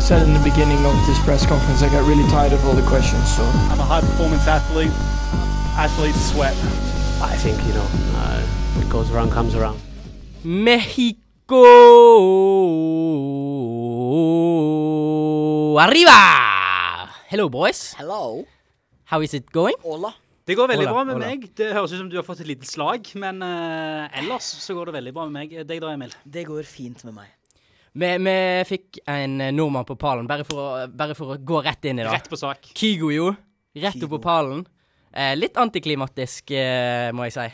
said in the beginning of this press conference, I got really tired of all the questions. So I'm a high performance athlete. Athletes sweat. I think, you know, uh, what goes around comes around. Mexico! Arriba! Hello, boys. Hello. How is it going? Ola. Det går veldig Ola, bra med Ola. meg. Det høres ut som du har fått et lite slag, men eh, ellers så går det veldig bra med meg. Eh, Deg da, Emil? Det går fint med meg. Vi, vi fikk en eh, nordmann på pallen, bare for, å, bare for å gå rett inn i det. Rett på sak. Kygo, jo. Rett opp Kygo. på pallen. Eh, litt antiklimatisk, eh, må jeg si.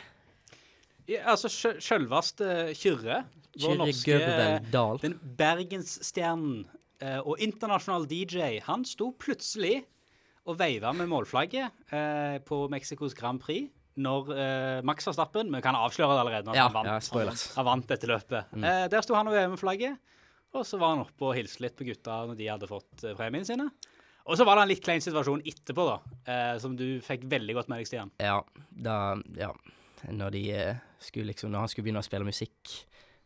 Ja, altså, sjø- sjølveste Kyrre. Vår Kyrre norske Gørven Dahl. Den Bergensstjernen eh, og internasjonal DJ. Han sto plutselig og veiva med målflagget eh, på Mexicos Grand Prix når eh, Max Verstappen Vi kan avsløre det allerede. Når Ja, han vant, ja, spoilers. Mm. Han vant dette løpet. Eh, der sto han og veiva med flagget. Og så var han oppe og hilste litt på gutta når de hadde fått eh, premiene sine. Og så var det en litt klein situasjon etterpå, da, eh, som du fikk veldig godt med deg, Stian. Ja, da Ja. Når de eh, skulle liksom Når han skulle begynne å spille musikk.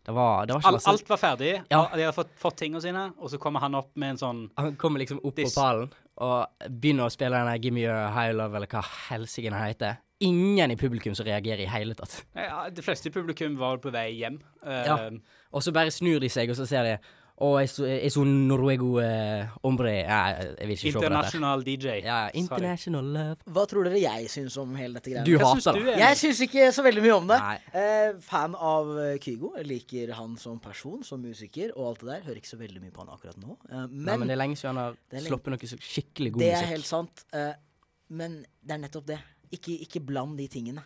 Det var, det var ikke Al- masse- alt var ferdig. Ja. og De hadde fått, fått tingene sine, og så kommer han opp med en sånn Han kommer liksom opp på This- pallen og begynner å spille den der Gimme Your High Love, eller hva helsike den heter. Ingen i publikum som reagerer i hele tatt. ja, De fleste i publikum var på vei hjem. Eh, Ja. Og så bare snur de seg, og så ser de Å, jeg så- jeg så Noruego eh, ombre Jeg, jeg vil ikke se på dette. International DJ. Ja, sa de. international love. Hva tror dere jeg syns om hele dette Du greiene? Hva syns hater du, det. Emil? Jeg syns ikke så veldig mye om det. Nei. Eh, fan av eh, Kygo. Jeg liker han som person, som musiker og alt det der. Hører ikke så veldig mye på han akkurat nå. Eh, men, Nei, men det er lenge siden han har Det er lenge- sluppet noe så skikkelig god det er musikk. helt sant. Eh, men det er nettopp det. Ikke, ikke bland de tingene.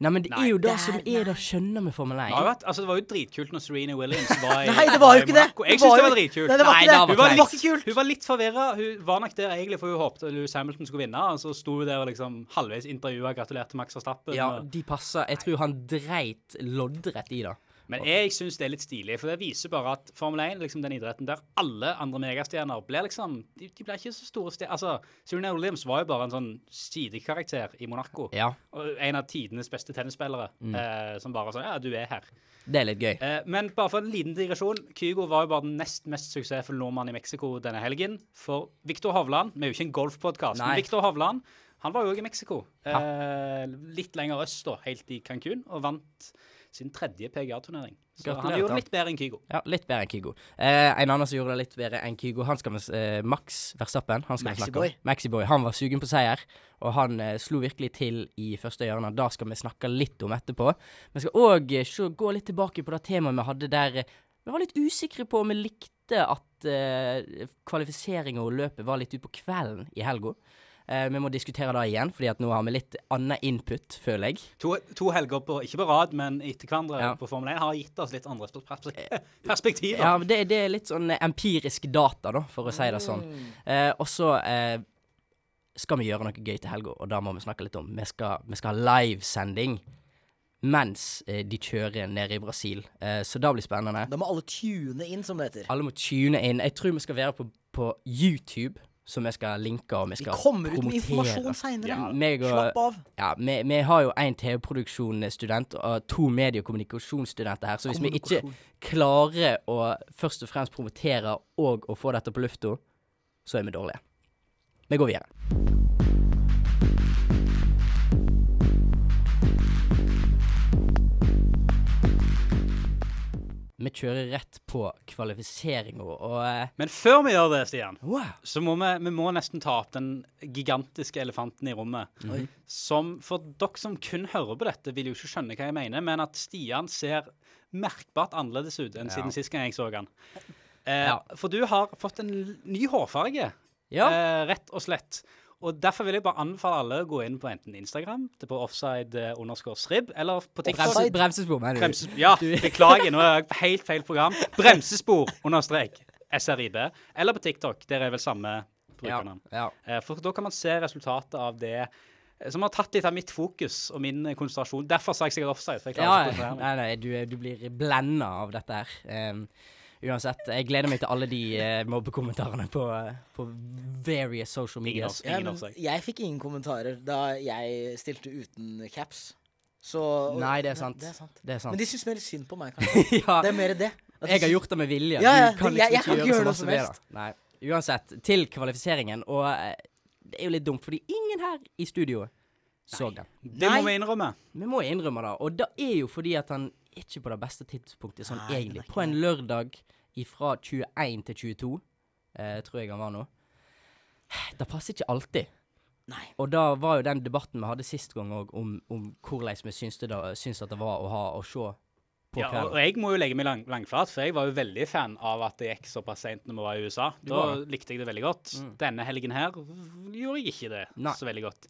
Nei, men det Nei. er jo det Det er- som er det skjønne med Formel Det, har 1. jo vært, altså, det var jo dritkult når Serena Williams var i eh, Nei, det var jo ikke det! Monaco. Jeg syns det var jo- dritkult. Nei, det var Nei, ikke det. da var hun var, det litt, hun var litt forvirra. Hun var nok der egentlig, for hun håpte Louis Hamilton skulle vinne. Og så sto hun der og liksom halvveis intervjua gratulerte Max Verstappen. Ja, og- de passer. Jeg tror han dreit loddrett i det. Men jeg syns det er litt stilig, for det viser bare at Formel 1, liksom den idretten der alle andre megastjerner blir liksom De, de blir ikke så store stjerner. Altså, Serena Williams var jo bare en sånn sidekarakter i Monaco. Ja, Og en av tidenes beste tennisspillere eh, som bare sånn Ja, du er her. det er litt gøy. Eh, men bare for en liten digresjon. Kygo var jo bare den nest mest suksessfulle nordmannen i Mexico denne helgen. For Viktor Hovland Vi er jo ikke en golfpodkast, men Nei. Viktor Hovland han var jo òg i Mexico. Eh, litt lenger øst, da, helt i Cancún, og vant sin tredje PGA-turnering. Så Gratulerer han gjorde til det litt bedre enn Kygo. Ja, litt bedre enn Kygo. Eh, en annen som gjorde det litt bedre enn Kygo, han skal vi, s- eh, Max Verstappen. Han skal vi snakke om. Maxiboy. Maxiboy. Han var sugen på seier, og han eh, slo virkelig til i første hjørne. Det skal vi snakke litt om etterpå. Vi skal òg gå litt tilbake på det temaet vi hadde der eh, vi var litt usikre på om vi likte at eh, kvalifiseringa og løpet var litt utpå kvelden i helga. Eh, vi må diskutere det igjen, fordi at nå har vi litt annet input, føler jeg. To, to helger på, ikke på rad, men etter hverandre Ja. på Formel 1 har gitt oss litt andre pers perspektiver. Ja, men det, det er litt sånn eh, empirisk data, da, for å si det sånn. Mm. Eh, og så eh, skal vi gjøre noe gøy til helga, og da må vi snakke litt om Vi skal, vi skal ha livesending mens eh, de kjører nede i Brasil, eh, så det blir spennende. Da må alle tune inn, som det heter. Alle må tune inn. Jeg tror vi skal være på, på YouTube, som vi skal linke, og vi Vi skal kommer ut med promotere. informasjon seinere. Ja, meg og- Slapp av. Ja, vi, vi har jo én TV-produksjonsstudent og to medie- og kommunikasjonsstudenter her, så hvis vi ikke klarer å først og fremst promotere og å få dette på lufta, så er vi dårlige. Vi går videre. Vi kjører rett på kvalifiseringa, og eh, Men før vi gjør det, Stian, wow. så må vi, vi må nesten ta opp den gigantiske elefanten i rommet. Mhm. Som for dere som kun hører på dette, vil jo ikke skjønne hva jeg mener, men at Stian ser merkbart annerledes ut enn siden sist gang jeg så han. Eh, Ja. For du har fått en l- ny hårfarge, Ja. eh, rett og slett. Og Derfor vil jeg bare anbefale alle å gå inn på enten Instagram, til på offside eh, underscore srib, eller på TikTok. Bremse, bremsespor, mener du? Bremses, ja, beklager, nå er jeg på helt feil program. Bremsespor understrek SRIB. Eller på TikTok, der er vel samme Ja, brukernavn. ja. Eh, For da kan man se resultatet av det eh, som har tatt litt av mitt fokus og min eh, konsentrasjon. Derfor sa jeg sikkert offside. for jeg Ja, klarer ikke å konsentrere meg. nei, nei, du, du blir blenda av dette her. Ehm, uansett, jeg gleder meg til alle de eh, mobbekommentarene på, eh, på various social Ingen medias. offside, Ja, ingen men offside. jeg fikk ingen kommentarer da jeg stilte uten caps. Så Nei, det er sant. Det er sant. Det er sant. Men de syns mer synd på meg, kanskje. ja, Det er mer det. At de jeg har syns- gjort det med vilje. Ja, ja, du kan jeg- jeg liksom kan ikke gjøre, så masse med det. Nei. Uansett, til kvalifiseringen. Og eh, det er jo litt dumt, fordi ingen her i studio så den. Det må vi innrømme. Vi må innrømme det, og det er jo fordi at han er ikke på det beste tidspunktet, sånn Nei, den er egentlig. ikke På en lørdag fra 21 til 22, eh, tror jeg han var nå. Det passer ikke alltid. Nei. Og da var jo den debatten vi hadde sist gang òg, om, om hvordan vi syns, det da, syns at det var å ha å se på Ja, og kvelden. og jeg må jo legge meg lang, langflat, for jeg var jo veldig fan av at det gikk såpass seint når vi var i USA. Da var Mm. likte jeg det veldig godt. Denne helgen her gjorde jeg ikke det Nei. så veldig godt.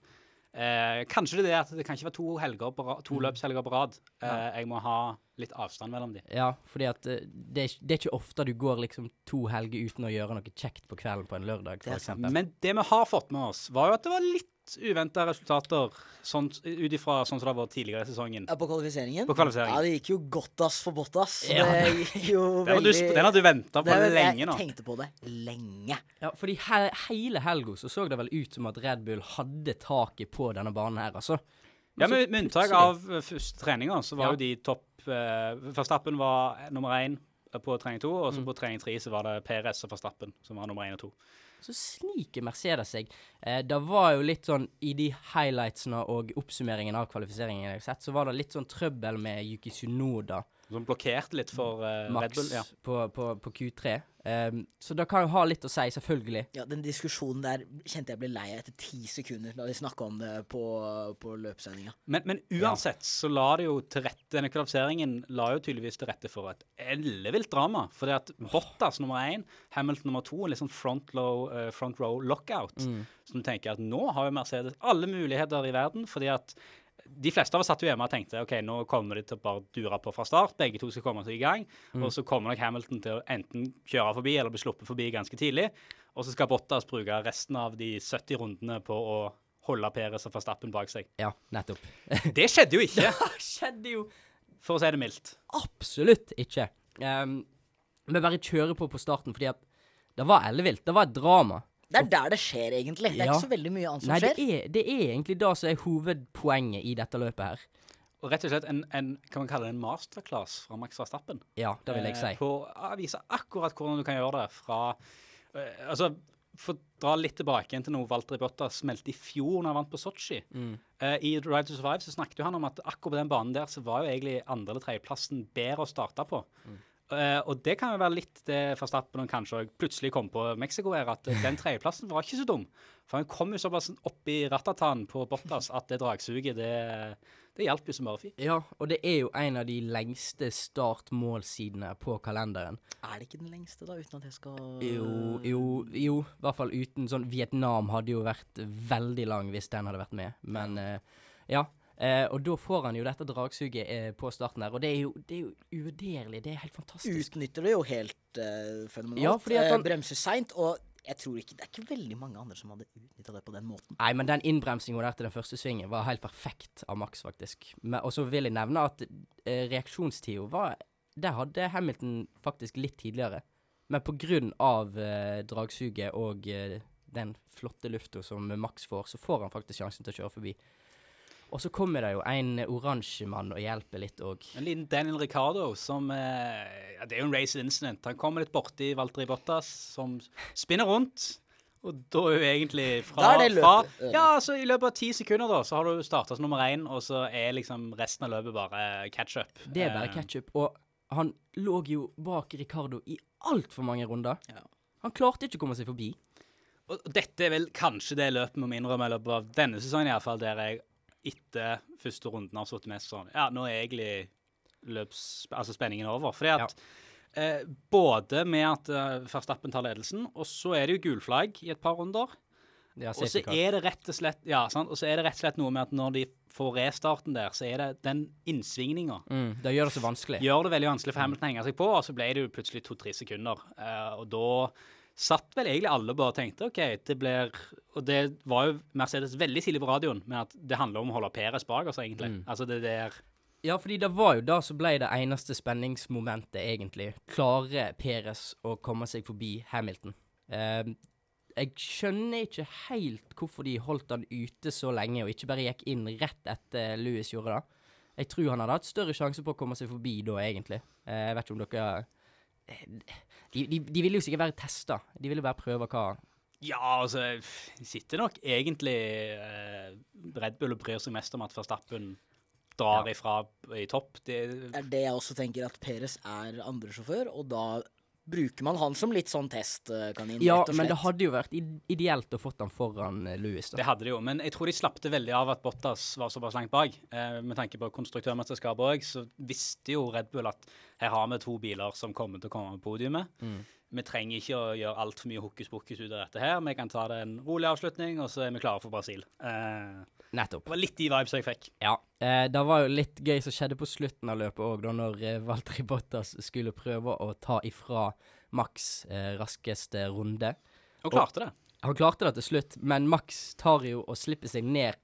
Eh, kanskje det er det at det kan ikke være to, helger på ra- Mm. to løpshelger på rad. Eh, jeg må ha litt avstand mellom de. Ja, fordi at eh, det er, ikke- det er ikke ofte du går liksom to helger uten å gjøre noe kjekt på kvelden på en lørdag, Det er f.eks. Men det vi har fått med oss, var jo at det var litt uventa resultater sånn, ut ifra sånn som det har vært tidligere i sesongen. Ja, på kvalifiseringen? På kvalifiseringen. Ja, det gikk jo godt ass for Bottas. Ja. Det gikk jo Den har du, veldig- sp- den har du venta på Det er- lenge nå. Jeg tenkte på det lenge. Ja, fordi he hele helga så så det vel ut som at Red Bull hadde taket på denne banen her, altså. Ja, Men så med, med unntak plutselig- av eh, første treninga, så var Ja. jo de topp eh, Verstappen var nummer én eh, på trening to, og så på trening tre så var det Perez og Verstappen som var nummer én og to. Så sniker Mercedes seg. Eh, det var jo litt sånn I de highlightsene og oppsummeringen av kvalifiseringen jeg har sett, så var det litt sånn trøbbel med Yuki Sunoda, Som blokkerte litt for eh, Red Max, Bull. Ja. på, på, på Q3. Ehm, så det kan jo ha litt å si, selvfølgelig. Ja, Den diskusjonen der kjente jeg ble lei av etter ti sekunder da de snakka om det på, på løpssendinga. Men, men uansett så la det jo til rette Denne kvalifiseringen la jo tydeligvis til rette for et ellevilt drama. Fordi at Bottas nummer én, Hamilton nummer to, en litt sånn front, low, eh, front row lockout. Så du tenker at nå har jo Mercedes alle muligheter i verden, fordi at de fleste av oss satt jo hjemme og tenkte ok, nå kommer de til å bare dure på fra start. Begge to skal komme seg i gang. Og så kommer nok Hamilton til å enten kjøre forbi eller bli sluppet forbi ganske tidlig. Og så skal Bottas bruke resten av de 70 rundene på å holde Perez og Verstappen bak seg. Ja, nettopp. Det skjedde jo ikke, Det skjedde jo for å si det mildt. Absolutt ikke. Um, vi bare kjører på på starten, fordi at det var ellevilt. Det var et drama. Det er der det skjer, egentlig. Det er Ja. ikke så veldig mye annet som Nei, det skjer. er, det er egentlig det som er hovedpoenget i dette løpet her. Og rett og slett en, en kan man kalle det en masterclass fra Max Verstappen. Ja, det vil jeg si. Eh, På å vise akkurat hvordan du kan gjøre det fra eh, Altså, for å dra litt tilbake igjen til noe Walter Botta smelte i fjor når han vant på Sotsji. Mm. Eh, I Ride to Survive så snakket jo han om at akkurat på den banen der så var jo egentlig andre- eller tredjeplassen bedre å starte på. Mm. Eh, og det kan jo være litt det Verstappen og kanskje også plutselig kom på Mexico, er at eh, den tredjeplassen var ikke så dum. For han kom jo såpass opp i ratatanen på Bottas at det dragsuget, det, det hjalp jo som bare fy. Ja, og det er jo en av de lengste start-mål-sidene på kalenderen. Er det ikke den lengste, da, uten at jeg skal Jo, jo, jo. I hvert fall uten sånn Vietnam hadde jo vært veldig lang hvis den hadde vært med, men eh, ja. Eh, og da får han jo dette dragsuget eh, på starten der, og det er jo, det er jo uvurderlig. Det er helt fantastisk. Utnytter det jo helt eh, fenomenalt. Ja, fordi at Eh, han- Bremser seint, og jeg tror ikke Det er ikke veldig mange andre som hadde utnytta det på den måten. Nei, men den innbremsinga der til den første svingen var helt perfekt av Max, faktisk. Men- Og så vil jeg nevne at eh, reaksjonstida var Der hadde Hamilton faktisk litt tidligere. Men på grunn av eh, dragsuget og eh, den flotte lufta som Max får, så får han faktisk sjansen til å kjøre forbi. Og så kommer det jo en oransje mann og hjelper litt òg. En liten Daniel Ricardo som eh, ja, Det er jo en race incident. Han kommer litt borti Valtteri Bottas, som spinner rundt. Og da er jo egentlig fra, Da er det fra løpet ødelagt. Ja, altså i løpet av ti sekunder, da, så har du starta som nummer én, og så er liksom resten av løpet bare Eh, catch-up. Det er bare ketsjup. Og han lå jo bak Ricardo i altfor mange runder. Ja. Han klarte ikke å komme seg forbi. Og og dette er vel kanskje det løpet vi må innrømme i løpet av denne sesongen, i alle fall, der jeg etter første runden har sittet mest sånn Ja, nå er egentlig løps, altså spenningen over. Fordi at eh, både med at eh, Verstappen tar ledelsen, og så er det jo gulflagg i et par runder. Ja, Og så er det rett og slett ja, sant? Og så er det rett og slett noe med at når de får restarten der, så er det den innsvingninga mm, det gjør det så vanskelig. gjør det veldig vanskelig for Hamilton å henge seg på, og så ble det jo plutselig to-tre sekunder. Eh, og da satt vel egentlig alle bare og tenkte OK, det blir Og det var jo Mercedes veldig tidlig på radioen med at det handler om å holde Peres bak oss, egentlig. Altså det der Ja, fordi det var jo da som ble det eneste spenningsmomentet, egentlig. Klarer Perez å komme seg forbi Hamilton? Eh, jeg skjønner ikke helt hvorfor de holdt han ute så lenge, og ikke bare gikk inn rett etter Lewis gjorde det. Jeg tror han hadde hatt større sjanse på å komme seg forbi da, egentlig. Eh, jeg vet ikke om dere De, de, de ville jo sikkert være testa. De ville bare prøve hva Ja, altså, jeg sitter nok egentlig eh, Red Bull og bryr seg mest om at Verstappen drar Ja. ifra i topp. Det, Det er det jeg også tenker, at Peres er andresjåfør, og da bruker man han som litt sånn testkanin, Ja, rett og slett. men det hadde jo vært id- ideelt å fått han foran eh, Lewis, da. det hadde de jo, men jeg tror de slapp det veldig av at Bottas var såpass langt bak. Eh, med tanke på konstruktørmesterskapet òg, så visste jo Red Bull at her har vi to biler som kommer til å komme på podiumet. Vi trenger ikke å gjøre altfor mye hokus pokus ut av dette her. Vi kan ta det en rolig avslutning, og så er vi klare for Brasil. Eh, Nettopp. det var litt de vibes jeg fikk. Ja. Eh, det var jo litt gøy som skjedde på slutten av løpet òg, da når eh, Valtteri Bottas skulle prøve å ta ifra Max eh, raskeste runde. Og klarte det. Han klarte det til slutt, men Max tar jo og slipper seg ned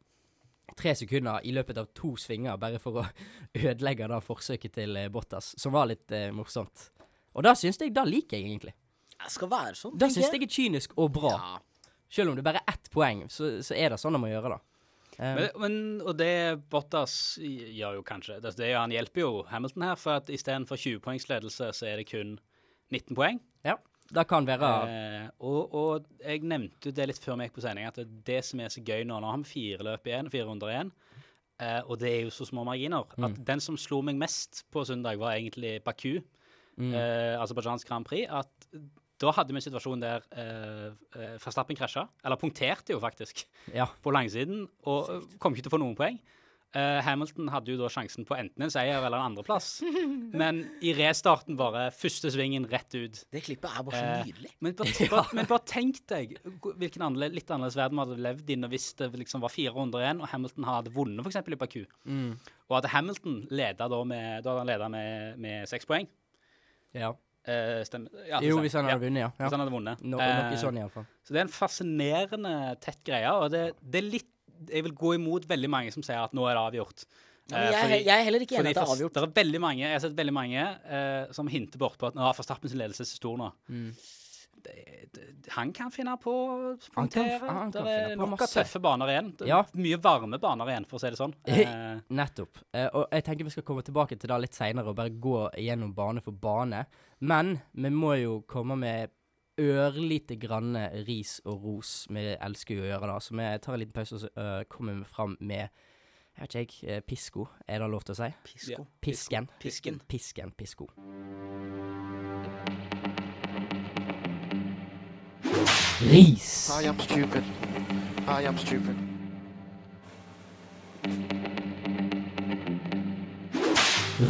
tre sekunder i løpet av to svinger, bare for å ødelegge da forsøket til eh, Bottas, som var litt eh, morsomt. Og da syns jeg, da liker jeg egentlig. Det skal være sånn, Da syns jeg er kynisk og bra. Selv om det bare er ett poeng, så, så er det sånn det må gjøre, da. Eh, Men, men, og det Bottas gjør jo kanskje det, det, er jo- Han hjelper jo Hamilton her, for at istedenfor 20-poengsledelse, så er det kun 19 poeng. ja, det kan være Eh, og, og jeg nevnte jo det litt før vi gikk på sending, at det, er det som er så gøy nå, nå har vi fire løp igjen, fire runder igjen, eh, og det er jo så små marginer, at den som slo meg mest på søndag, var egentlig Baku, eh, Aserbajdsjans Grand Prix, at da hadde vi en situasjon der eh, eh, Verstappen krasja, eller punkterte jo faktisk Ja. på langsiden, og eh, kom ikke til å få noen poeng. Eh, Hamilton hadde jo da sjansen på enten en seier eller en andreplass. Men i restarten bare første svingen rett ut. Det klippet er bare Eh, så nydelig. Men bare, bare, men bare tenk deg hvilken annerle- litt annerledes verden vi hadde levd i nå hvis det liksom var 400 igjen, og Hamilton hadde vunnet f.eks. i Baku. Mm. Og at Hamilton leda da med, da hadde han ledet med, med seks poeng. ja. Eh, stemmer. Ja, det Jo, stemmer. hvis han Ja, hadde vunnet, ja. Hvis ja. han hadde vunnet. No, Eh, noe sånn, iallfall. så det er en fascinerende tett greie, og det, det er litt Jeg vil gå imot veldig mange som sier at nå er det avgjort. Ja, men Eh, jeg, fordi- jeg er heller ikke enig fordi i at det er Vers- avgjort. Det er veldig mange, jeg har sett veldig mange eh, som hinter bort på at nå er Verstappens ledelse så stor nå. Mm. Det- det- Han kan finne på å Han kan f- punktere. han det kan finne er på nok av masse. tøffe baner igjen. Det er Ja. Mye varme baner igjen, for å si det sånn. Eh, Nettopp. Eh, og jeg tenker vi skal komme tilbake til det litt seinere og bare gå gjennom bane for bane. Men vi må jo komme med ørlite grann ris og ros. Vi elsker jo å gjøre det, så vi tar en liten pause og så eh, kommer vi fram med jeg vet ikke jeg, eh, pisko, er det lov til å si? ja. Pisko. Pisken. Pisken. Pisken, pisko. Ris. I am stupid. I am stupid.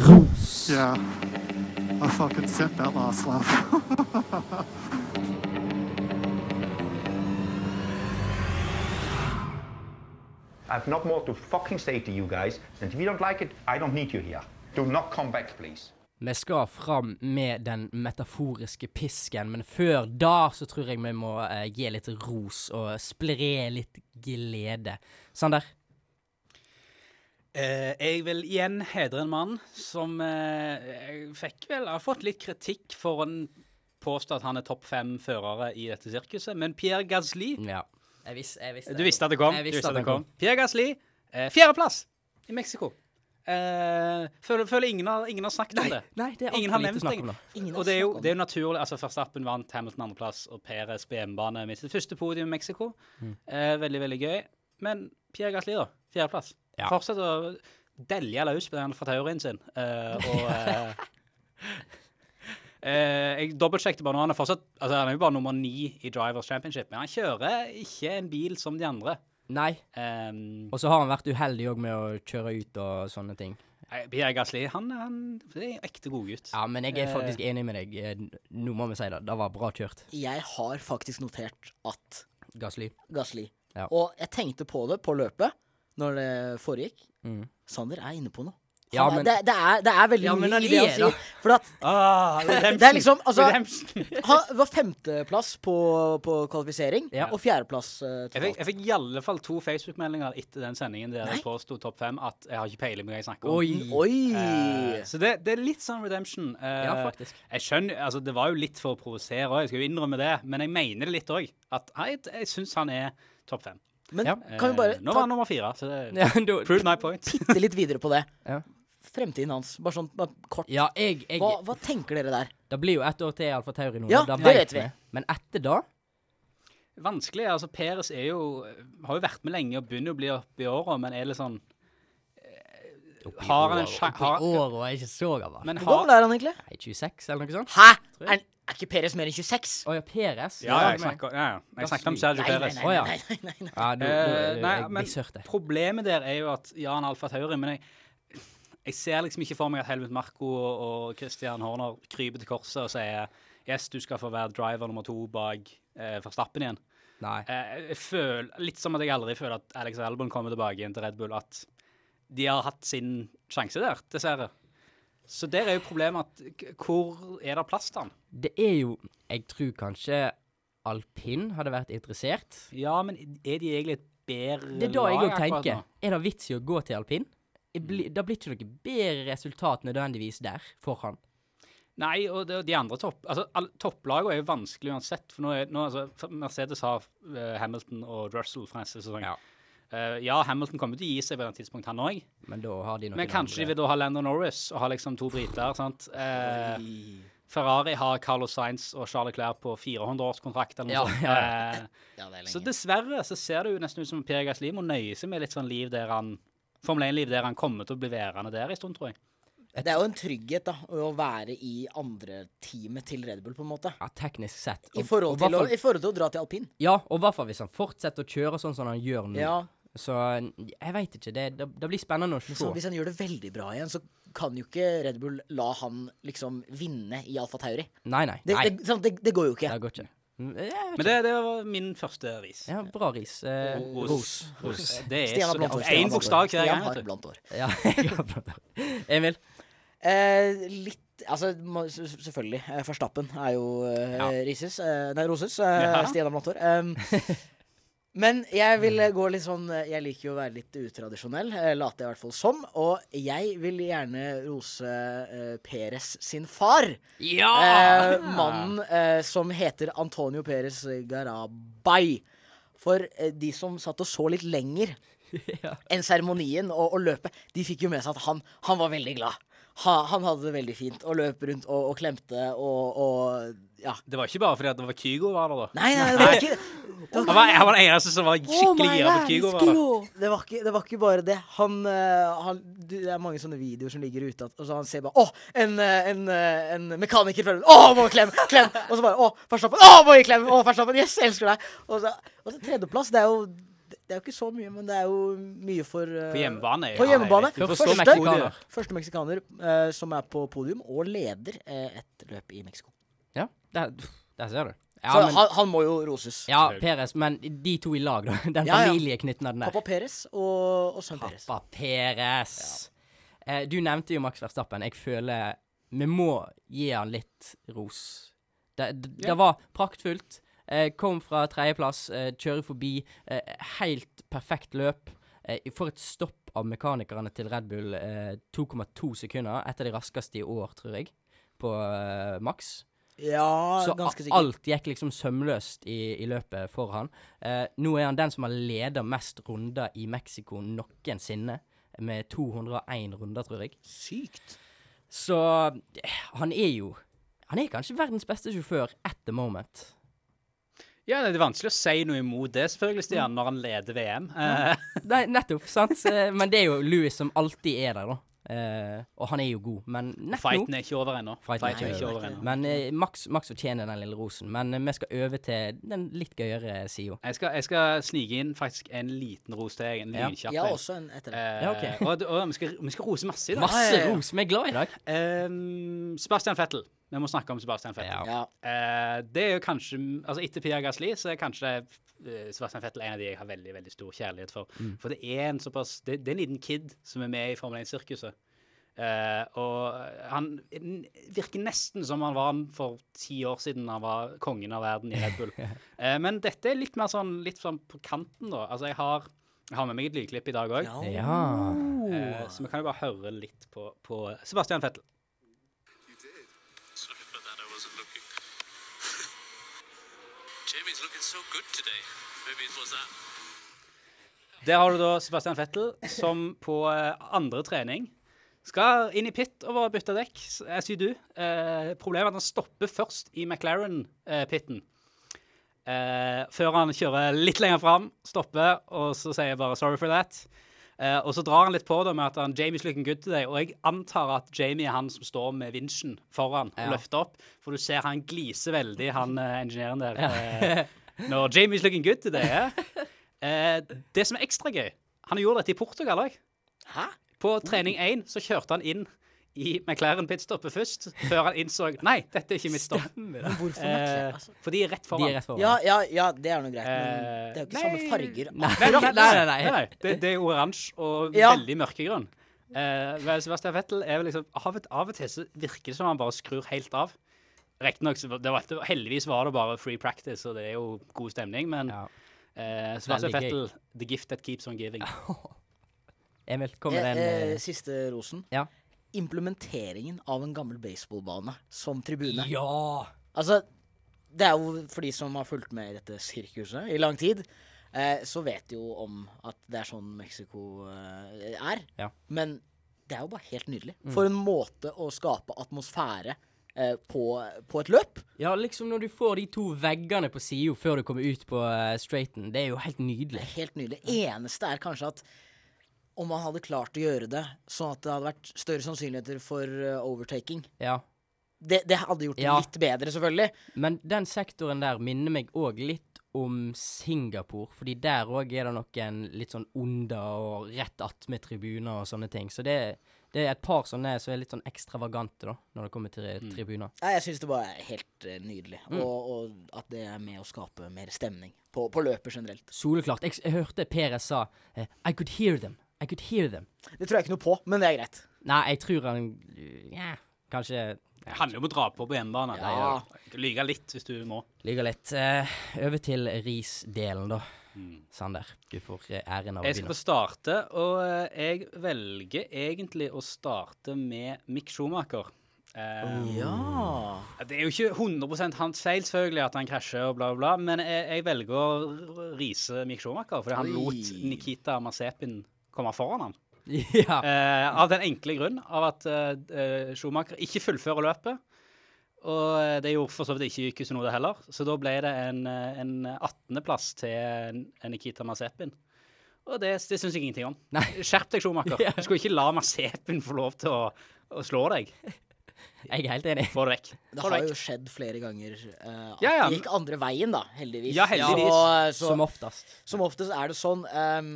Roos. Yeah. I fucking said that last laugh. I've not more to fucking say to you guys than if you don't like it, I don't need you here. Do not come back, please. Vi skal fram med den metaforiske pisken, men før da så tror jeg vi må eh, gi litt ros og spre litt glede. Sander? Eh, jeg vil igjen hedre en mann som eh, jeg fikk vel, har fått litt kritikk for å påstå at han er topp fem førere i dette sirkuset, men Pierre Gasli Ja. Jeg visste, Du visste at det kom. Jeg du visste at det kom. Pierre Gasli, eh, fjerdeplass i Mexico. Eh, føler, føler ingen har, ingen har snakket om det. Nei, det er Ingen altfor har lite nevnt snakk om det. det. Og det er jo det er jo naturlig. altså Verstappen vant Hamilton andreplass og Perez på hjemmebane med sitt første podium i Mexico. Mm. Eh, veldig, veldig gøy. Men Pierre Gasli, da. Fjerdeplass. Ja. Fortsett å delje løs på den fortaurien sin. eh, og eh, Eh, jeg dobbeltsjekket bare nå. Han er fortsatt altså han er jo bare nummer ni i Drivers Championship, men han kjører ikke en bil som de andre. Nei. Um, Og så har han vært uheldig òg med å kjøre ut og sånne ting. Pierre Gasli han, han det er en ekte godgutt. Ja, men jeg er Eh. faktisk enig med deg. Eh, Nå må vi si det. Det var bra kjørt. Jeg har faktisk notert at Gassly. Gasli. Ja. Og jeg tenkte på det på løpet når det foregikk. Mm. Sander er inne på noe. Han Ja, er- men- det, det, er, det er veldig Ja, mye men han i det er han da. sier. For at Ah, Det er liksom, altså- redemption. han var femteplass på, på kvalifisering, Ja. og fjerdeplass eh, Jeg fikk, totalt. jeg fikk i alle fall to Facebook-meldinger etter den sendingen der Nei. jeg påsto topp fem at jeg har ikke peiling på hva jeg snakker om. Oi. Oi! Eh, så det, det er litt sånn redemption. Eh, Ja, faktisk. Jeg skjønner, altså Det var jo litt for å provosere òg, jeg skal jo innrømme det, men jeg mener det litt òg. At jeg, jeg syns han er topp fem. Men Ja. kan vi bare Eh, Nå var ta han nummer fire, så det Ja, da, Prove my point. titte litt videre på det? Ja. Fremtiden hans. Bare sånn bare kort. ja jeg, jeg Hva, hva tenker dere der? Det blir jo ett år til i Alfa Tauri nå. Ja, da det vet vet vi. Men etter da Vanskelig. altså Peres er jo, har jo vært med lenge og begynner å bli opp i åra, men er litt sånn eh, Har han en sjanse Oppi året og er ikke så gammel. Men Hvor har gammel er han egentlig? Nei, 26 eller noe sånt? Hæ? Er, han- er ikke Peres mer enn 26? Å ja, Peres. Ja, jeg snakker, ja, ja. jeg snakket om Sergio Nei, nei, Perez. nei. Å, ja. nei, nei, nei, nei. Ja, du, Eh, nei, nei, jeg men blir sørt det. problemet der er jo at ja, han er alfa Tauri, men jeg, jeg ser liksom ikke for meg at Helmut Marko og, og Christian Horner kryper til korset og sier yes, du skal få være driver nummer to bak eh, Verstappen igjen. Nei. Eh, jeg føler, litt som at jeg aldri føler at Alex Albon kommer tilbake igjen til Red Bull, at de har hatt sin sjanse der, dessverre. Så der er jo problemet at k- hvor er det plass til han? Det er jo Jeg tror kanskje alpin hadde vært interessert. Ja, men er de egentlig et bedre lag Det er da jeg òg akkurat tenker. nå? Er det vits i å gå til alpin? Det blir- Da blir ikke noe bedre resultat nødvendigvis der for han. Nei, og de, de andre topp... Altså, all, topplagene er jo vanskelig uansett. For nå er, nå, altså, for Mercedes har eh, Hamilton og Russell fra neste sesong. Ja. Eh, ja, Hamilton kommer til å gi seg på et eller annet tidspunkt, han òg. Men da har de noen Men kanskje de vil da ha Lando Norris og ha liksom to briter. sant? Eh, Ferrari har Carlos Sainz og Charles Clair på 400-årskontrakt eller noe Ja, sånt. ja, Eh, Ja, det er så lenge. dessverre så ser det jo nesten ut som Per Gass Limo nøyer seg med litt sånn liv der han Formel 1-liv der han kommer til å bli værende der en stund, tror jeg. Det er jo en trygghet, da, å være i andre teamet til Red Bull, på en måte. Ja, teknisk sett. I Og- og forhold til, å, hvertfall- i forhold til å dra til alpin. Ja, og i hvert fall hvis han fortsetter å kjøre sånn som han gjør nå. Ja. Så jeg veit ikke. Det, det, det blir spennende å Men så, se. hvis han gjør det veldig bra igjen, så kan jo ikke Red Bull la han liksom vinne i Alfa Tauri. Nei, nei. Det, nei. det, sant, det, det går jo ikke. Det går ikke. Mm, Jeg vet Men ikke. det, Oh. det var min første ris. Ja, bra ris. Eh, ros. Eh, Det er Stian har så- blondt hår. En Stian har blondt bokstav hår. hver gang, Stian vet har du. blondt hår. Ja, jeg har bra. Emil? Eh, litt Altså, må- s- s- selvfølgelig. eh, Verstappen er jo eh, Ja. rises. Eh, nei, roses. Eh, Ja. Stian har blondt hår. Um, men jeg vil eh, gå litt sånn eh, Jeg liker jo å være litt utradisjonell. Eh, later jeg i hvert fall som. Og jeg vil gjerne rose eh, Peres sin far. Ja! Eh, mannen eh, som heter Antonio Perez Garabay. For eh, de som satt og så litt lenger enn seremonien og, og løpet, de fikk jo med seg at han, han var veldig glad. Ha, han hadde det veldig fint og løp rundt og, og klemte og, og ja. Det var ikke bare fordi at det var Kygo var der, da. Nei, nei, det var ikke Han var, han var den eneste som var skikkelig gira på at Kygo var der. det var, ikke, det var ikke bare det. Han, eh, han du, Det er mange sånne videoer som ligger ute, at, og så han ser bare Å, en, eh, en, eh, en mekaniker følger Å, må klem! Klem! Og så bare Å, Verstappen! Å, må gi klem! Å, Verstappen! Yes, jeg elsker deg! Og så, og så tredjeplass. Det er jo Det er jo ikke så mye, men det er jo mye for eh, På hjemmebane. ja, På hjemmebane. det er viktig. Du Første forstår Første, Mexico, det. meksikaner. første meksikaner eh, som er på podium, og leder eh, et løp i Mexico. Ja, der, der ser du. Ja, Så men, han, han må jo roses. ja, Peres, men de to i lag, da. Den Ja, ja. familieknytten av den der. Pappa Perez og, og sønn Perez. Pappa Peres. Eh, du nevnte jo Max Verstappen. Jeg føler vi må gi han litt ros. Det, det, det var praktfullt. Eh, kom fra tredjeplass, eh, kjører forbi. Eh, helt perfekt løp. Eh, får et stopp av mekanikerne til Red Bull eh, 2,2 sekunder. Et av de raskeste i år, tror jeg, på eh, Max. Ja, Så ganske sikkert. alt gikk liksom sømløst i, i løpet for han. Eh, nå er han den som har ledet mest runder i Mexico noensinne. Med 201 runder, tror jeg. Sykt. Så eh, han er jo Han er kanskje verdens beste sjåfør at the moment. Ja, det er vanskelig å si noe imot det, selvfølgelig, Stian, når han leder VM. Eh, Nei, nettopp, sant? Eh, Men det er jo Louis som alltid er der, da. Eh, og han er jo god, men nett nå fighten er ikke over ennå. Fighten er Fighten er ikke ikke over ennå. Men eh, Max, Max fortjener den lille rosen. Men eh, vi skal øve til den litt gøyere sida. Jeg skal, jeg skal snike inn faktisk en liten ros til deg. En Ja. lynkjapp. Jeg har en. også en etter det. Eh, Ja, ok. og, og vi, skal, vi skal rose masse i dag. Eh, Masse ja, ja. ros! Vi er glad i dag. Ehm, Sebastian Fettel. Vi må snakke om Sebastian Fettel. Ja. Ja. Eh, det er jo kanskje Altså Etter Pierre Gasli så er kanskje eh, Sebastian Fettel en av de jeg har veldig veldig stor kjærlighet for. For det er en såpass det, det er en liten kid som er med i Formel 1-sirkuset. Eh, og han n- virker nesten som han var han for ti år siden han var kongen av verden i Red Bull. Eh, men dette er litt mer sånn litt sånn på kanten, da. Altså jeg har, jeg har med meg et lydklipp i dag òg, Ja. så vi kan jo bare høre litt på, på Sebastian Fettel. You did. Sorry for that, I wasn't looking. Jamie's looking so good today. Maybe it was that. Der har du da Sebastian Vettel, som på eh, andre trening Skal inn i pit og bare bytte dekk, s- as you do. Eh, problemet er at han stopper først i McLaren-pitten. Eh, før han kjører litt lenger fram, stopper, og så sier jeg bare 'sorry for that'. Eh, og så drar han litt på det med at han, Jamie's looking good today, og jeg antar at Jamie er han som står med vinsjen foran og Ja. løfter opp, for du ser han gliser veldig, han eh, ingeniøren der. eh, Når Jamie's looking good today, eh. Eh, det som er ekstra gøy, han gjorde dette i Portugal òg. Hæ? På trening 1 så kjørte han inn i McLaren pitstoppet først, før han innså Nei, dette er ikke mitt stopp. Hvorfor matcher Eh, altså? for de er rett De foran. er rett foran. Ja, ja, ja, det er noe greit, Eh, men det er jo ikke nei. samme farger. Nei, nei, nei. nei, nei. Det, det er oransje og Ja. veldig mørkegrønn. Eh, vel, Sebastian Vettel er vel liksom av, og- av og til så virker det som han bare skrur helt av. Riktignok så var- det var, det var- Heldigvis var det bare free practice, og det er jo god stemning, men Ja. eh, Sebastian Veldig gøy. Vettel, the gift that keeps on giving. Emil, kom med Eh, den. eh, eh, siste rosen. Ja. Implementeringen av en gammel baseballbane som tribune. Ja! Altså, det er jo for de som har fulgt med i dette sirkuset i lang tid, eh, så vet de jo om at det er sånn Mexico eh, er. Ja. Mm. Men det er jo bare helt nydelig. For en måte å skape atmosfære eh, på, på et løp. Ja, liksom når du får de to veggene på sida før du kommer ut på eh, straighten. Det er jo helt nydelig. Helt nydelig. Eneste er kanskje at om man hadde klart å gjøre det sånn at det hadde vært større sannsynligheter for eh, overtaking Ja. det, det hadde gjort det Ja. litt bedre, selvfølgelig. Men den sektoren der minner meg òg litt om Singapore. Fordi der òg er det noen litt sånn onder og rett attmed tribuner og sånne ting. Så det, det er et par sånne som er litt sånn ekstravagante, da, når det kommer til eh, tribuner. Nei, Jeg syns det bare er helt eh, nydelig. Og, og at det er med å skape mer stemning på, på løpet generelt. Soleklart. Jeg, s- jeg hørte Perez sa eh, I could hear them. I could hear them. Det tror jeg ikke noe på, men det er greit. Nei, jeg tror han ja, Kanskje Det handler jo om å dra på på hjemmebane. Ja. Det er jo- Lyge litt hvis du må. lyver litt. Eh, over til ris-delen, da. Sander, du Mm. får eh, æren av å Jeg skal begynne. få starte, og eh, jeg velger egentlig å starte med Mick Schumacher. Eh, Ja. Det er jo ikke 100 hans feil selvfølgelig at han krasjer, og bla, bla, bla, men jeg, jeg velger å r- rise Mick Schumacher fordi han Oi. lot Nikita Mazepin komme foran ham. ja. Eh, av den enkle grunn av at eh, eh, Schumacher ikke fullfører løpet. Og eh, det gjorde for så vidt ikke Kysunoda heller, så da ble det en, eh, en 18.-plass til eh, Nikita Mazepin. Og det, det syns jeg ingenting om. Skjerp deg, Schumacher. Ja. Du skulle ikke la Mazepin få lov til å, å slå deg. Jeg er helt enig. Få det vekk. Få Det det har vekk. jo skjedd flere ganger eh, at Ja, ja, det gikk andre veien, da. Heldigvis. Ja, heldigvis. Så, så, Som oftest. Som oftest er det sånn ehm,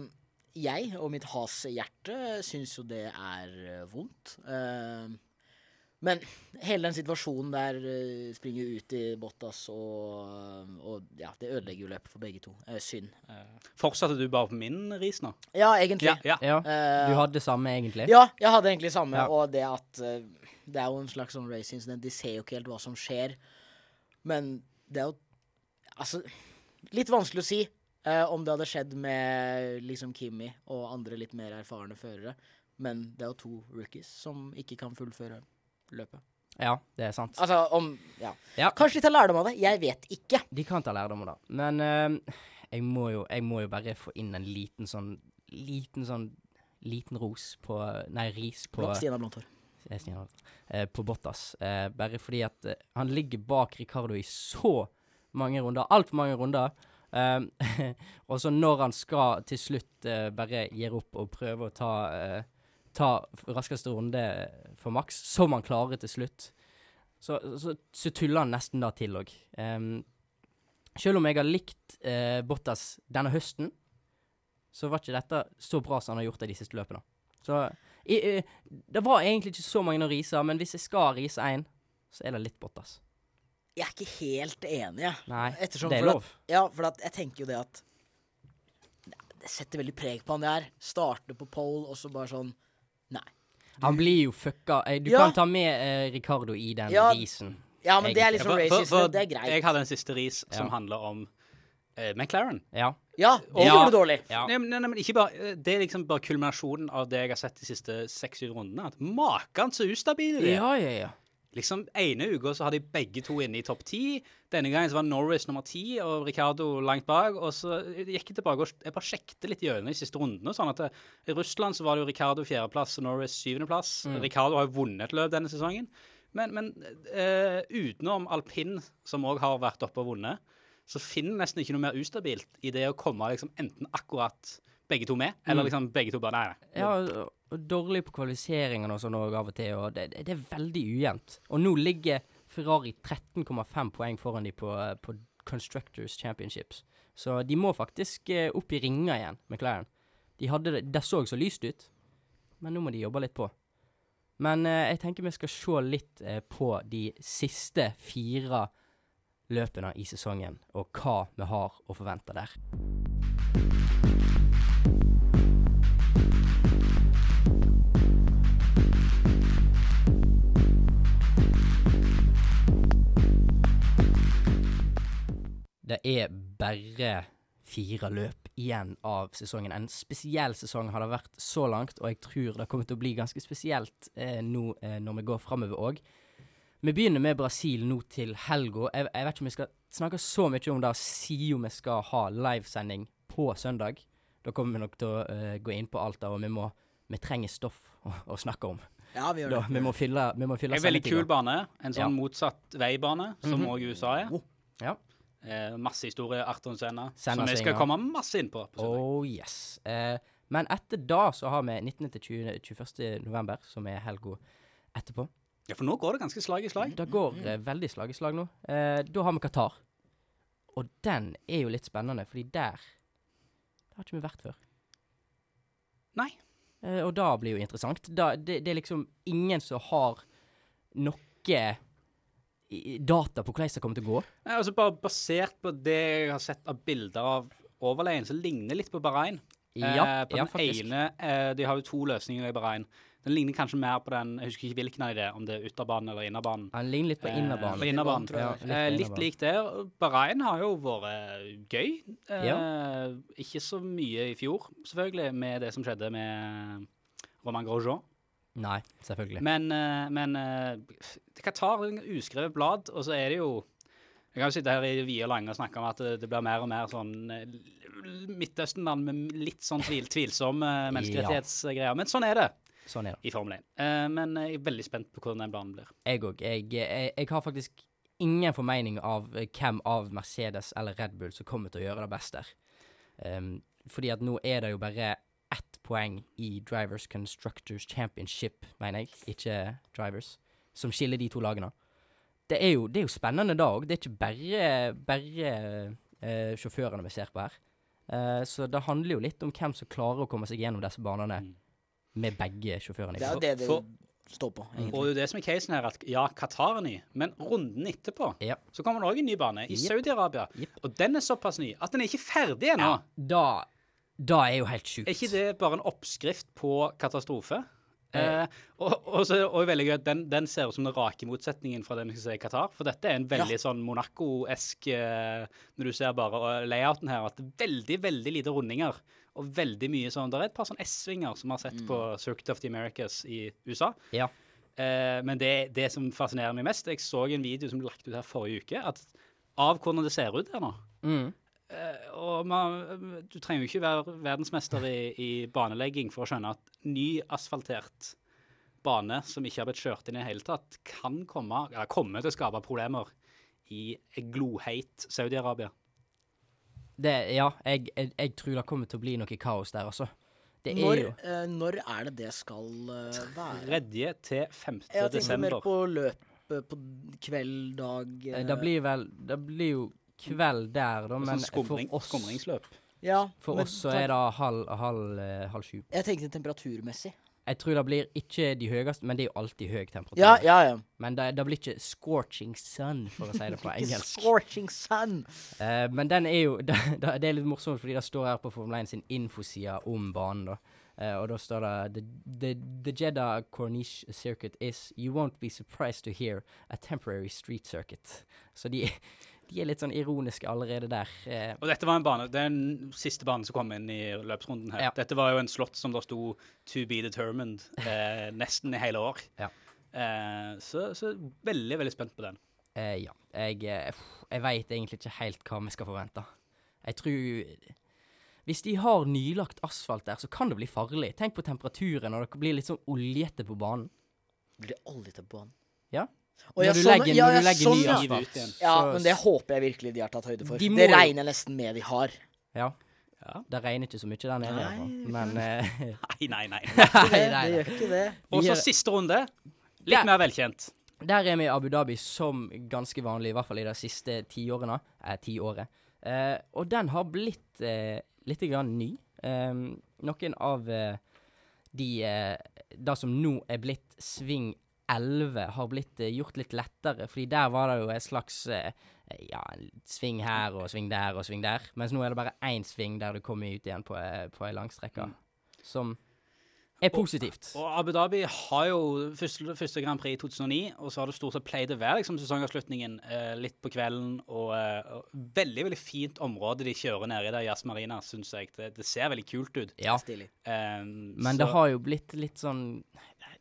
Jeg og mitt has-hjerte syns jo det er eh, vondt. Ehm, men hele den situasjonen der eh, springer ut i Bottas og, eh, og Ja, det ødelegger jo løpet for begge to. Eh, synd. Fortsatte du bare på min ris nå? Ja, egentlig. Ja. ja. Ja. Eh, Du hadde samme, egentlig? Ja, jeg hadde egentlig samme, Eh? Ja. og det at eh, Det er jo en slags sånn race incident. De ser jo ikke helt hva som skjer. Men det er jo Altså, litt vanskelig å si eh, om det hadde skjedd med liksom Kimi og andre litt mer erfarne førere. Men det er jo to rookies som ikke kan fullføre løpet. Ja, det er sant. Altså om Ja. Ja. Kanskje de tar lærdom av det. Jeg vet ikke. De kan ta lærdom av det. Men eh, jeg, må jo, jeg må jo bare få inn en liten sånn Liten sånn Liten ros på Nei, ris på Blå, Stina Blondtår. Jeg sniker meg. Eh, På Bottas. Eh, bare fordi at eh, han ligger bak Ricardo i så mange runder. Altfor mange runder. Um, og så når han skal til slutt eh, bare gir opp og prøve å ta, eh, ta raskeste runde for maks, som han klarer til slutt, så, så, så tuller han nesten da til òg. Um, selv om jeg har likt eh, Bottas denne høsten, så var ikke dette så bra som han har gjort det de siste løpene. Så i, eh, det var egentlig ikke så mange å rise, men hvis jeg skal rise én, så er det litt Bottas. Jeg er ikke helt enig, jeg. Nei, Ettersom det er for at- lov. Ja, for at jeg tenker jo det at Det setter veldig preg på han det her. Starter på pole, og så bare sånn Nei. Han blir jo fucka. Eh, Du Ja. kan ta med eh, Ricardo i den Ja. risen. Ja, men det er Egentlig. liksom For- for- racist, for det er greit. Jeg hadde en siste ris som Ja. handler om eh, McLaren. Ja. Ja, det Ja. gjorde du dårlig. Ja. Nei, men- nei, nei, men ikke bare, det er liksom bare kulminasjonen av det jeg har sett de siste seks-syv rundene. At maken så ustabil de er. ja, ja, ja. Liksom ene uka så har de begge to inne i topp ti. Denne gangen så var Norris nummer ti og Ricardo langt bak. Og så gikk jeg tilbake og jeg bare sjekket litt gjennom de siste rundene. sånn at det, I Russland så var det jo Ricardo fjerdeplass og Norris syvendeplass. Ricardo har jo vunnet et løp denne sesongen. Men, men eh, utenom alpin, som òg har vært oppe og vunnet, så finner jeg nesten ikke noe mer ustabilt i det å komme liksom enten akkurat begge to med, eller liksom begge to bare nei. nei. Ja, og- og dårlig på kvalifiseringene og sånn også av og til, og det, det det er veldig ujevnt. Og nå ligger Ferrari 13,5 poeng foran de på, eh, på Constructors Championships. Så de må faktisk eh, opp i ringer igjen, McLaren. De hadde det, det så så lyst ut, men nå må de jobbe litt på. Men eh, jeg tenker vi skal se litt eh, på de siste fire løpene i sesongen, og hva vi har å forvente der. Det er bare fire løp igjen av sesongen. En spesiell sesong har det vært så langt, og jeg tror det kommer til å bli ganske spesielt eh, nå eh, når vi går framover òg. Vi begynner med Brasil nå til helga. Jeg, jeg vet ikke om vi skal snakke så mye om det, siden vi skal ha livesending på søndag. Da kommer vi nok til å eh, gå inn på alt det, og vi, må, vi trenger stoff å, å snakke om. Ja, vi gjør Da, det. vi må fylle, vi må fylle En veldig kul sendetiden. bane. En sånn Ja. Mhm. motsatt veibane, som òg USA er. Ja. Eh, masse historie, Arton Senna, Senna som vi skal Senna. komme masse inn på. på søndag. Oh yes. Eh, men etter da så har vi 19. til 20, 21. november, som er helga etterpå. Ja, for nå går det ganske slag i slag. Det går eh, veldig slag i slag nå. Eh, da har vi Qatar. Og den er jo litt spennende, fordi der Det har ikke vi vært før. Nei. Eh, og da blir jo interessant. Da, det, det er liksom ingen som har noe i- data på hvordan det kommer til å gå. Nei, altså bare Basert på det jeg har sett av bilder av overleien, som ligner litt på Bahrain. Ja, eh, på ja, den faktisk. ene, eh, De har jo to løsninger i Bahrain. Den ligner kanskje mer på den Jeg husker ikke hvilken av de det er, om det er ytterbanen eller innerbanen. Han ligner litt på Eh, innerbanen. på innerbanen. Ja, Eh, litt på litt innerbanen. lik det. Bahrain har jo vært gøy. Eh, Ikke så mye i fjor, selvfølgelig, med det som skjedde med Roman Grosjean. Nei, selvfølgelig. Men, eh, men eh, Qatar er en uskrevet blad, og så er det jo Jeg kan jo sitte her i det vide og lange og snakke om at det, det blir mer og mer sånn eh, l- Midtøsten-land med litt sånn tvil, tvilsomme eh, menneskerettighetsgreier. Men sånn er det sånn er det. i Formel 1. Eh, men jeg er veldig spent på hvordan den banen blir. Jeg òg. Jeg, jeg, jeg har faktisk ingen formening av eh, hvem av Mercedes eller Red Bull som kommer til å gjøre det best der. Ehm, fordi at nå er det jo bare ett poeng i Drivers Constructors Championship, mener jeg, ikke Drivers, som skiller de to lagene. Det er jo, det er jo spennende da òg. Det er ikke bare, bare eh, sjåførene vi ser på her. Eh, så det handler jo litt om hvem som klarer å komme seg gjennom disse banene med begge sjåførene. Det er jo det det For- står på. Og det er jo det som er casen her, at ja, Qatar er ny, men runden etterpå Ja. så kommer det òg en ny bane, i Saudi-Arabia. Jep. Og den er såpass ny at den er ikke ferdig ennå. Da, da er jo helt sjukt. Er ikke det bare en oppskrift på katastrofe? Eh, og, og så er det også veldig gøy at den, den ser ut som den rake motsetningen fra den vi skal se i Qatar. For dette er en veldig sånn Monaco-esk eh, Når du ser bare eh, layouten her, at det er veldig, veldig lite rundinger. Og veldig mye sånn Det er et par sånn S-svinger som vi har Mm. sett på Circuit of the Americas i USA. Ja. Eh, men det, det som fascinerer meg mest Jeg så en video som ble lagt ut her forrige uke, at av hvordan det ser ut her nå. Mm. Eh, og man, du trenger jo ikke være verdensmester i, i banelegging for å skjønne at ny asfaltert bane som ikke har blitt kjørt inn i det hele tatt, kan komme, eller komme til å skape problemer i glohheit Saudi-Arabia. Det, ja, jeg, jeg, jeg tror det kommer til å bli noe kaos der, altså. Det er Når, jo eh, når er det det skal eh, være? 3. til 5. Jeg tenker mer desember. på løpet eh, på kveld, dag eh, eh, Det blir vel Det blir jo kveld der, da, men sånn skumring, for oss, skumringsløp. ja, for men oss så er det halv, halv, eh, halv sju. Jeg tenkte temperaturmessig. Jeg tror det blir ikke de høyeste, men det er jo alltid høy temperatur. Ja, ja, ja. Men det, det blir ikke 'scorching sun', for å si det på engelsk. Scorching sun! Eh, men den er jo det, det, det er litt morsomt, fordi det står her på Formel 1 sin infoside om banen, da. Eh, og da står det the, the, the Jeddah Corniche Circuit is You won't be surprised to hear a temporary street circuit. Så de, de er litt sånn ironiske allerede der. Eh, Og dette var en bane, den siste banen som kom inn i løpsrunden her. Ja. Dette var jo en slott som det sto 'to be determined' eh, nesten i hele år. Ja. Eh, så, så veldig, veldig spent på den. Eh, ja. Jeg, eh, pff, jeg veit egentlig ikke helt hva vi skal forvente. Jeg tror Hvis de har nylagt asfalt der, så kan det bli farlig. Tenk på temperaturen når det blir litt sånn oljete på banen. Blir det aldri til banen? Ja. Å, ja, når du sånn, legger, ja, når ja, du legger sånn, ny ja. Ut asfalt. igjen. Ja, så- men det håper jeg virkelig de har tatt høyde for. De må det jo- regner jeg nesten med de har. Ja. Det regner ikke så mye der nede, i hvert fall. Men eh, Nei, nei, nei. Nei, Det, nei, det nei. gjør ikke det. Og Vi så er- siste runde. Ja. Litt mer velkjent. eh, Der er vi i Abu Dhabi som ganske vanlig, i hvert fall i de siste tiårene. Eh, tiåret. Eh, og den har blitt eh, litt grann ny. Eh, noen av eh, de eh, Det som nå er blitt sving 11, har blitt eh, gjort litt lettere. Fordi der var det jo en slags eh, ja, en sving her og sving der og sving der. Mens nå er det bare én sving der du kommer ut igjen på, eh, på ei langstrekke. Som er positivt. Mm. Og Abu Dhabi har jo første, første Grand Prix i 2009, og så har det stort sett pleid å være liksom, sesongavslutningen eh, litt på kvelden. Og, eh, og veldig veldig fint område de kjører nedi der, Jazz Marina, syns jeg. Det, det ser veldig kult ut. Ja. Stilig. Eh, Men så- det har jo blitt litt sånn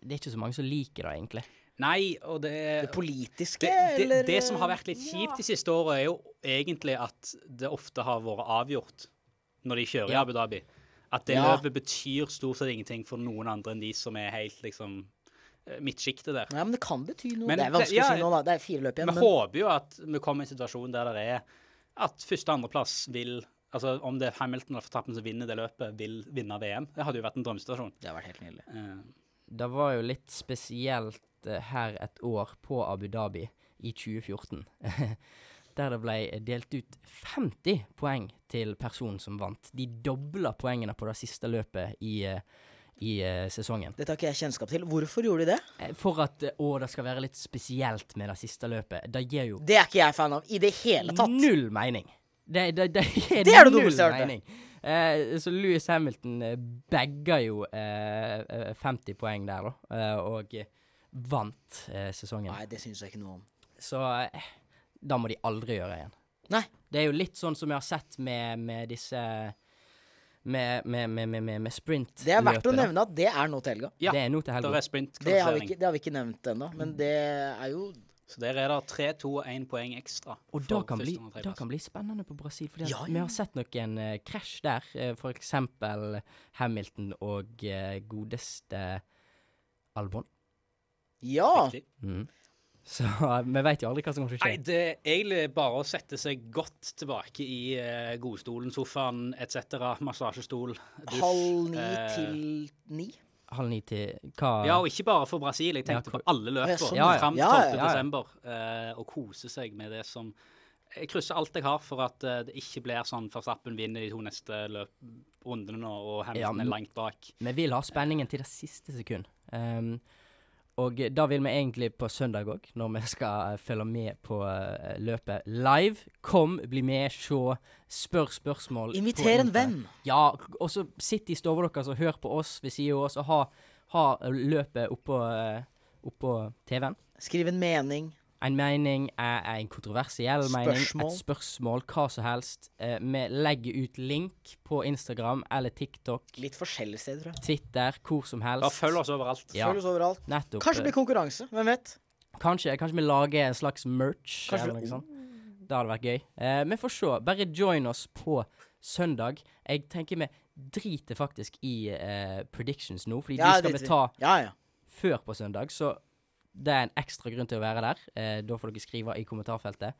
Det er ikke så mange som liker det, egentlig. Nei, og det Det politiske, det, det, eller eh, det som har vært litt kjipt de siste årene, er jo egentlig at det ofte har vært avgjort når de kjører i Ja. Abu Dhabi. At det Ja. løpet betyr stort sett ingenting for noen andre enn de som er helt liksom eh, midtsjiktet der. Nei, men det kan bety noe. Men det er det- vanskelig ja, å si nå, da. Det er fire løp igjen. Vi Men, håper jo at vi kommer i en situasjon der det er at første- og andreplass vil Altså om det er Hamilton eller Fortappen som vinner det løpet, vil vinne VM. Det hadde jo vært en drømmesituasjon. det har vært helt nydelig. Eh, Det var jo litt spesielt eh, her et år på Abu Dhabi i 2014. Der det ble delt ut 50 poeng til personen som vant. De dobla poengene på det siste løpet i, eh, i eh, sesongen. Dette har ikke jeg kjennskap til. Hvorfor gjorde de det? Eh, For at eh, å, det skal være litt spesielt med det siste løpet. Det gir jo Det er ikke jeg fan av i det hele tatt. Null mening. Det, det, det, er Det er det null dummeste jeg har hørt. mening. Eh, så Louis Hamilton eh, bagga jo eh, eh, 50 poeng der, da, eh, og eh, vant eh, sesongen. Nei, det syns jeg ikke noe om. Så eh, da må de aldri gjøre igjen. Nei. Det er jo litt sånn som jeg har sett med, med disse Med, med, med, med, med, med sprintløpet. Det er verdt å da. nevne at det er nå til helga. Ja, Det er nå til der helga. er sprint Det har, vi ikke, det har vi ikke nevnt ennå, men det er jo Så der er det 3-2-1 poeng ekstra. Og for det kan, bli, første- og da tredjeplass. kan bli spennende på Brasil, for Ja, vi ja. har sett noen eh, krasj der. eh, for eksempel Hamilton og eh, godeste Albon. Mm. Ja! Riktig. Så eh, vi veit jo aldri hva som kommer til å Nei, skje. det er egentlig bare å sette seg godt tilbake i eh, godstolen, sofaen etc. Massasjestol, dusj. Halv ni eh, til ni. Halv ni til hva Ja, og ikke bare for Brasil. Jeg tenkte Ja, på alle ja, løpene sånn, ja. fram til Ja, ja, 12. ja, ja. desember. eh, og kose seg med det som Jeg krysser alt jeg har for at eh, det ikke blir sånn Verstappen vinner de to neste løp, rundene nå, og Ja, Hamilton men- er langt bak. Vi vil ha spenningen til det siste sekund. Ehm, og da vil vi egentlig på søndag òg, når vi skal eh, følge med på eh, løpet live. Kom, bli med, se, spør spørsmål. på Inviter en internett. venn. Ja, og så sitt i stua deres og hør på oss ved siden av oss, og ha, ha løpet oppå, eh, oppå TV-en. Skriv en mening. En mening er er en kontroversiell mening. Spørsmål. Et spørsmål, hva som helst. Eh, vi legger ut link på Instagram eller TikTok, Litt forskjellige steder, tror jeg. Twitter, hvor som helst. Bare følg oss overalt. Ja, Følg oss overalt. nettopp. eh, Kanskje det blir konkurranse. Hvem vet? Kanskje, kanskje vi lager en slags merch Kanskje eller vi- noe sånt. Det hadde vært gøy. Eh, vi får se. Bare join oss på søndag. Jeg tenker vi driter faktisk i eh, predictions nå, fordi de skal det- vi ta Ja, ja. før på søndag, så det er en ekstra grunn til å være der. Eh, da får dere skrive i kommentarfeltet.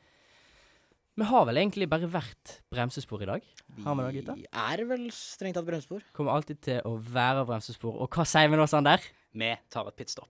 Vi har vel egentlig bare vært bremsespor i dag. Har vi det, gutta? Vi er vel strengt tatt bremsespor. Kommer alltid til å være bremsespor. Og hva sier vi nå, Sander? Vi tar et pitstop.